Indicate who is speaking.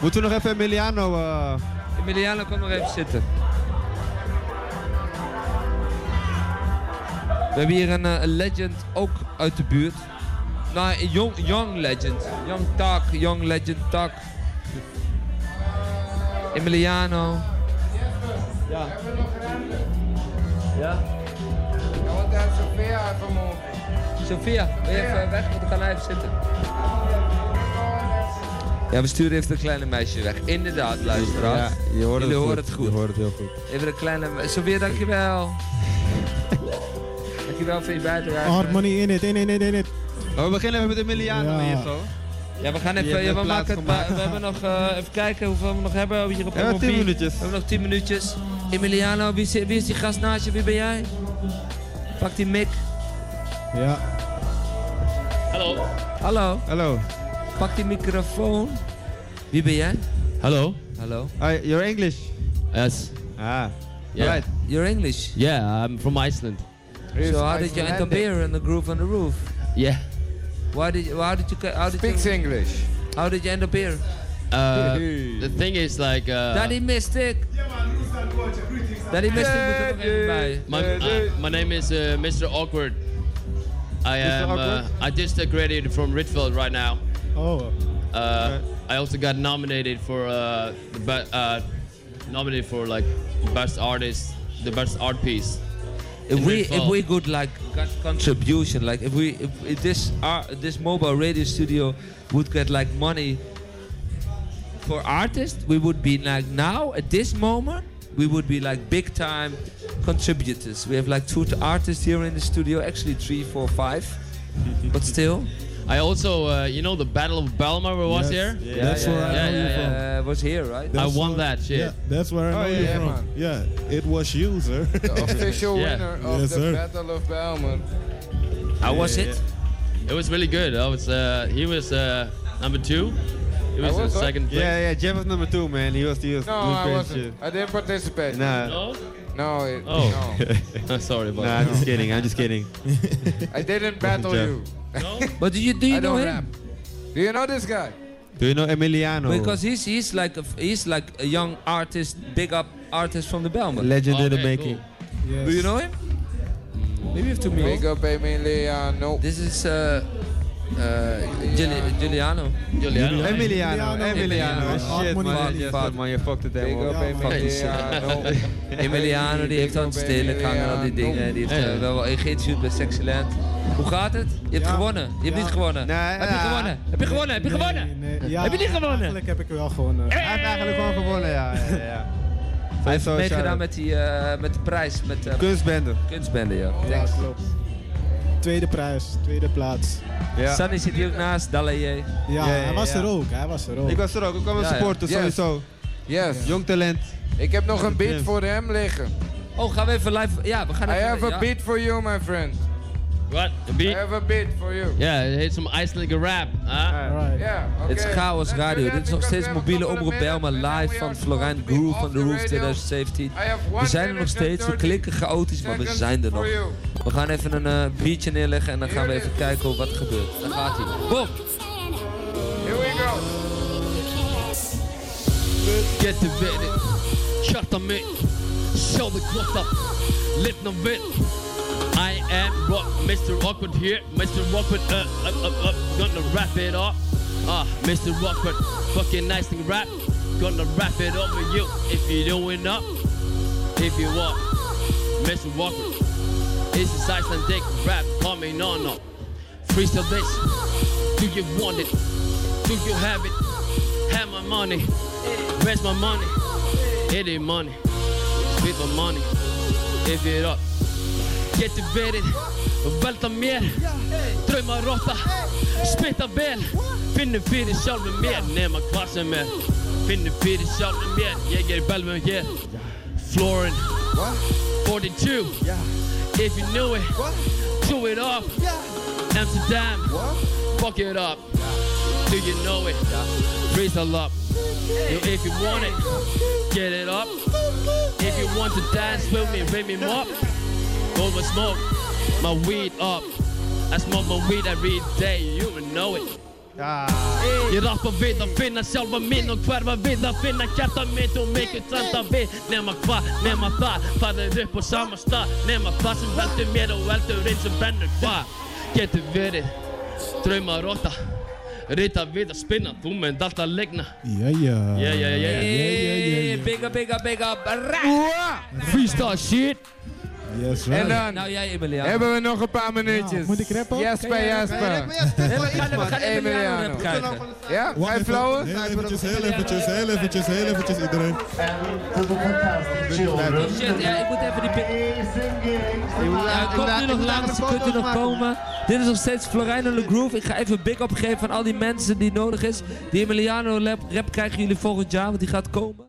Speaker 1: Moeten we nog even Emiliano... eh,
Speaker 2: Emiliano, kom maar even zitten. We hebben hier een, eh, een legend, ook uit de buurt. Nou, een young, young legend. Young Tak, young legend Tak. Emiliano.
Speaker 3: Ja.
Speaker 2: Ja?
Speaker 3: Ja, want daar Sofia vanmorgen.
Speaker 2: Sophia, wil je even weg? Want ik kan even zitten. Ja, we sturen even het kleine meisje weg. Inderdaad, luisteraars.
Speaker 1: je hoort
Speaker 2: Jullie horen het goed.
Speaker 1: Je hoort het heel goed.
Speaker 2: Even een kleine... me- Sophia, dankjewel. dankjewel voor je bijdrage.
Speaker 4: Harmony Oh, in it, in it, in it, in it.
Speaker 1: Maar Oh, we beginnen even met Emiliano
Speaker 4: Ja.
Speaker 1: hier zo.
Speaker 2: Ja, we gaan
Speaker 1: Je
Speaker 2: even...
Speaker 1: hebt
Speaker 2: Ja, we,
Speaker 1: een plaats
Speaker 2: maken het,
Speaker 1: gemaakt.
Speaker 2: maar we hebben nog... eh, even kijken hoeveel we nog hebben hier op
Speaker 1: Ja,
Speaker 2: MOB.
Speaker 1: 10 minuutjes.
Speaker 2: We hebben nog 10 minuutjes. Emiliano, wie is, wie is die gast naast je? Wie ben jij? Pak die mic.
Speaker 4: Ja.
Speaker 5: Hallo.
Speaker 2: Hallo,
Speaker 1: Hallo.
Speaker 2: pak die microfoon. Wie ben jij?
Speaker 5: Hello.
Speaker 2: Hallo.
Speaker 1: Hi, you're English?
Speaker 5: Yes.
Speaker 1: Ah.
Speaker 5: Yeah.
Speaker 1: Right.
Speaker 2: You're English.
Speaker 5: Yeah, I'm from Iceland.
Speaker 2: So how did you end up here in the groove on the roof?
Speaker 5: Yeah.
Speaker 2: Why did you, how did you ca- how did
Speaker 3: Speaks
Speaker 2: you,
Speaker 3: English.
Speaker 2: how did you end up here?
Speaker 5: Uh,
Speaker 1: Hey.
Speaker 5: the thing is like uh,
Speaker 2: Daddy Mystic. Daddy Mystic moet er nog even bij.
Speaker 5: my, uh, my name is uh, Mr. Awkward. I am uh,
Speaker 1: Awkward?
Speaker 5: I just uh, graduated from Ritfield right now.
Speaker 4: Oh.
Speaker 5: Uh, I also got nominated for uh, the be- uh, nominated for like best artist, the best art piece.
Speaker 2: If
Speaker 5: in
Speaker 2: we
Speaker 5: Ritfield.
Speaker 2: if we could like got contribution like if we if, if this ar- this mobile radio studio would get like money for artists, we would be like now at this moment we would be like big time contributors. We have like two t- artists here in the studio, actually three, four, five, but still.
Speaker 5: I also uh, you know the Battle of Belmar was here.
Speaker 4: Yeah, that's where I
Speaker 5: yeah,
Speaker 4: know
Speaker 5: yeah,
Speaker 4: you
Speaker 2: Uh,
Speaker 4: from.
Speaker 2: was here, right?
Speaker 4: That's
Speaker 5: won
Speaker 4: where-
Speaker 5: that shit.
Speaker 4: Yeah, that's where I know
Speaker 3: Oh, yeah,
Speaker 4: you
Speaker 3: yeah,
Speaker 4: from.
Speaker 3: man.
Speaker 4: Yeah, it was you, sir.
Speaker 3: The official
Speaker 5: Yeah.
Speaker 3: winner of
Speaker 4: Yes,
Speaker 3: the
Speaker 4: sir.
Speaker 3: Battle of Belmont.
Speaker 2: How was it?
Speaker 5: It was really good. I was uh, he was uh, number two. He was,
Speaker 3: was,
Speaker 5: in
Speaker 3: huh?
Speaker 5: second place.
Speaker 1: Yeah, yeah, Jeff was number two, man. He was, he was
Speaker 3: No,
Speaker 1: doing
Speaker 3: I
Speaker 1: great
Speaker 3: wasn't. I didn't participate.
Speaker 1: shit. Nah,
Speaker 5: No?
Speaker 3: No, it,
Speaker 5: Oh.
Speaker 3: no.
Speaker 5: I'm sorry about
Speaker 1: nah, I'm just kidding. I'm just kidding.
Speaker 3: I didn't battle
Speaker 1: Jeff.
Speaker 3: you.
Speaker 5: that. No?
Speaker 2: But do you do you
Speaker 3: I
Speaker 2: know
Speaker 3: don't
Speaker 2: him?
Speaker 3: rap. Do you know this guy?
Speaker 1: Do you know Emiliano?
Speaker 2: Because he's he's like a, f- he's like a young artist, big up artist from the Belmont.
Speaker 1: legend in the
Speaker 5: Okay,
Speaker 1: making.
Speaker 5: cool.
Speaker 2: Do you know him? Maybe you have to meet.
Speaker 3: Big
Speaker 2: him.
Speaker 3: up Emiliano.
Speaker 2: This is uh, uh, Gili- Giuliano.
Speaker 5: Giuliano.
Speaker 1: Emiliano,
Speaker 4: Emiliano.
Speaker 1: Emiliano.
Speaker 4: Emiliano.
Speaker 1: Shit,
Speaker 4: Harmony
Speaker 1: man.
Speaker 2: in
Speaker 1: Yes,
Speaker 2: it.
Speaker 1: man, man, je fucked het
Speaker 3: Big
Speaker 1: helemaal.
Speaker 3: up
Speaker 1: op.
Speaker 2: fucking shit.
Speaker 3: Emiliano.
Speaker 2: Emiliano die heeft aan het stelen gaan en al die dingen. Die heeft eh, wel wel geïnterviewd bij Sexyland. Hoe gaat het? Je hebt
Speaker 4: Ja.
Speaker 2: gewonnen. Je hebt
Speaker 4: Ja.
Speaker 2: niet gewonnen.
Speaker 1: Nee,
Speaker 2: Heb je
Speaker 1: ja.
Speaker 2: gewonnen? Heb je gewonnen? Heb je gewonnen?
Speaker 4: Nee, nee, ja,
Speaker 2: Heb je niet gewonnen?
Speaker 4: Eigenlijk heb ik wel gewonnen.
Speaker 1: Hij heeft eigenlijk gewoon gewonnen, ja. ja, ja, ja.
Speaker 2: Hij heeft
Speaker 1: Sowieso,
Speaker 2: meegedaan
Speaker 1: shout-out.
Speaker 2: met, die, eh, met de prijs, met de
Speaker 1: Kunstbende.
Speaker 2: kunstbende, ja.
Speaker 4: Ja, klopt. Tweede prijs, tweede plaats.
Speaker 1: Ja.
Speaker 2: Sunny zit hier ook naast, Dalaye.
Speaker 4: Ja,
Speaker 1: ja,
Speaker 4: hij was
Speaker 1: ja.
Speaker 4: er ook, hij was er ook.
Speaker 1: Ik was er ook. Ik kwam een
Speaker 2: Ja, ja.
Speaker 1: supporter,
Speaker 3: Yes.
Speaker 1: sowieso.
Speaker 3: Yes.
Speaker 1: Jong talent.
Speaker 3: Ik heb nog een beat
Speaker 1: Yes.
Speaker 3: voor hem liggen.
Speaker 2: Oh, gaan we even live... Ja, we gaan
Speaker 3: I
Speaker 2: even...
Speaker 3: have
Speaker 2: ja.
Speaker 3: a beat for you, my friend.
Speaker 5: What? The
Speaker 3: I
Speaker 5: beat?
Speaker 3: have a beat for you.
Speaker 5: Yeah, it had some Icelandic rap. Huh?
Speaker 4: Alright.
Speaker 3: Ja, oké.
Speaker 2: Het is Chaos
Speaker 3: Let's
Speaker 2: Radio.
Speaker 3: do that,
Speaker 2: Dit is nog
Speaker 3: because
Speaker 2: steeds
Speaker 3: we have
Speaker 2: mobiele
Speaker 3: a couple
Speaker 2: omroep
Speaker 3: of
Speaker 2: Belma
Speaker 3: minutes and
Speaker 2: live
Speaker 3: we
Speaker 2: van
Speaker 3: are
Speaker 2: Florian
Speaker 3: supposed to be
Speaker 2: Groove
Speaker 3: off
Speaker 2: on the
Speaker 3: the
Speaker 2: Roof
Speaker 3: radio.
Speaker 2: 2017.
Speaker 3: I have
Speaker 2: We
Speaker 3: one
Speaker 2: zijn er nog
Speaker 3: minute
Speaker 2: steeds,
Speaker 3: and
Speaker 2: we
Speaker 3: 30
Speaker 2: klinken chaotisch, maar we
Speaker 3: seconds
Speaker 2: zijn er nog.
Speaker 3: for you.
Speaker 2: We gaan even een eh, biertje neerleggen en dan gaan we even kijken hoe- wat er gebeurt. Dan gaat hij. Bom!
Speaker 3: Here we go.
Speaker 5: Get the bed. Shut the mic. Show the cloth up. Lift the bit. I am Rock, Mr. Awkward here. Mr. Awkward, uh, uh, uh, uh, gonna wrap it up. Ah, Mr. Awkward, fucking nice thing rap. Gonna wrap it up with you if you doing up. If you want, Mr. Awkward. It's a Icelandic rap coming on up. Freestyle this. Do you want it? Do you have it? Have my money. Where's my money? It ain't money. Spit my money. If it up. Getur verið og velta mér Drauma rotta, spytta vel Finnum fyrir sjálfum mér Nema hvað sem er Finnum fyrir sjálfum mér Ég er í belvum hér Florin 42 If you knew it Do it up Amsterdam Fuck it up Do you know it Freestyle up Yo, if you want it, get it up. If you want to dance with me, ring me up. Go and smoke my weed up. I smoke my weed every day, you would know it.
Speaker 1: Ah.
Speaker 5: Je lacht me weer, dan vind ik zelf me min Ook waar we weer, dan vind ik het aan min Toen ik het zand aan weer Neem maar kwa, neem maar pa Van de rug voor samen sta Neem maar pas, en wel te meer En wel te rin, ze ben er kwa Kijk te weer, trui maar rota Rita weer, dat spinnen Toen men dat dat lijkt na
Speaker 4: Ja, ja.
Speaker 5: Ja, ja, ja, ja.
Speaker 4: ja, ja.
Speaker 2: Big up, big up, big up. Ra!
Speaker 5: Freestyle shit
Speaker 4: Yes, right.
Speaker 3: En dan
Speaker 2: Nou jij Emiliano.
Speaker 3: hebben we nog een paar minuutjes.
Speaker 4: Ja, Nou, moet ik rappen ook? Kan
Speaker 3: Jasper,
Speaker 4: jij rappen?
Speaker 1: Hey,
Speaker 3: Jasper.
Speaker 1: maar ja,
Speaker 2: We gaan, we gaan Emiliano
Speaker 3: Emiliano.
Speaker 2: rap kijken.
Speaker 3: Ja, ga je
Speaker 6: even,
Speaker 3: flauwen?
Speaker 6: Heel eventjes, heel eventjes, heel eventjes, heel eventjes iedereen.
Speaker 2: Oh shit, ja, ik moet even die pik... Ja,
Speaker 1: Ik
Speaker 2: komt
Speaker 1: laat-
Speaker 2: nu
Speaker 1: ik
Speaker 2: nog
Speaker 1: laat
Speaker 2: langs,
Speaker 1: de
Speaker 2: je kunt
Speaker 1: foto's
Speaker 2: u nog
Speaker 1: maken.
Speaker 2: komen. Dit is nog steeds Florijn in the Groove. Ik ga even een big up geven aan al die mensen die nodig is. Die Emiliano rap, rap krijgen jullie volgend jaar, want die gaat komen.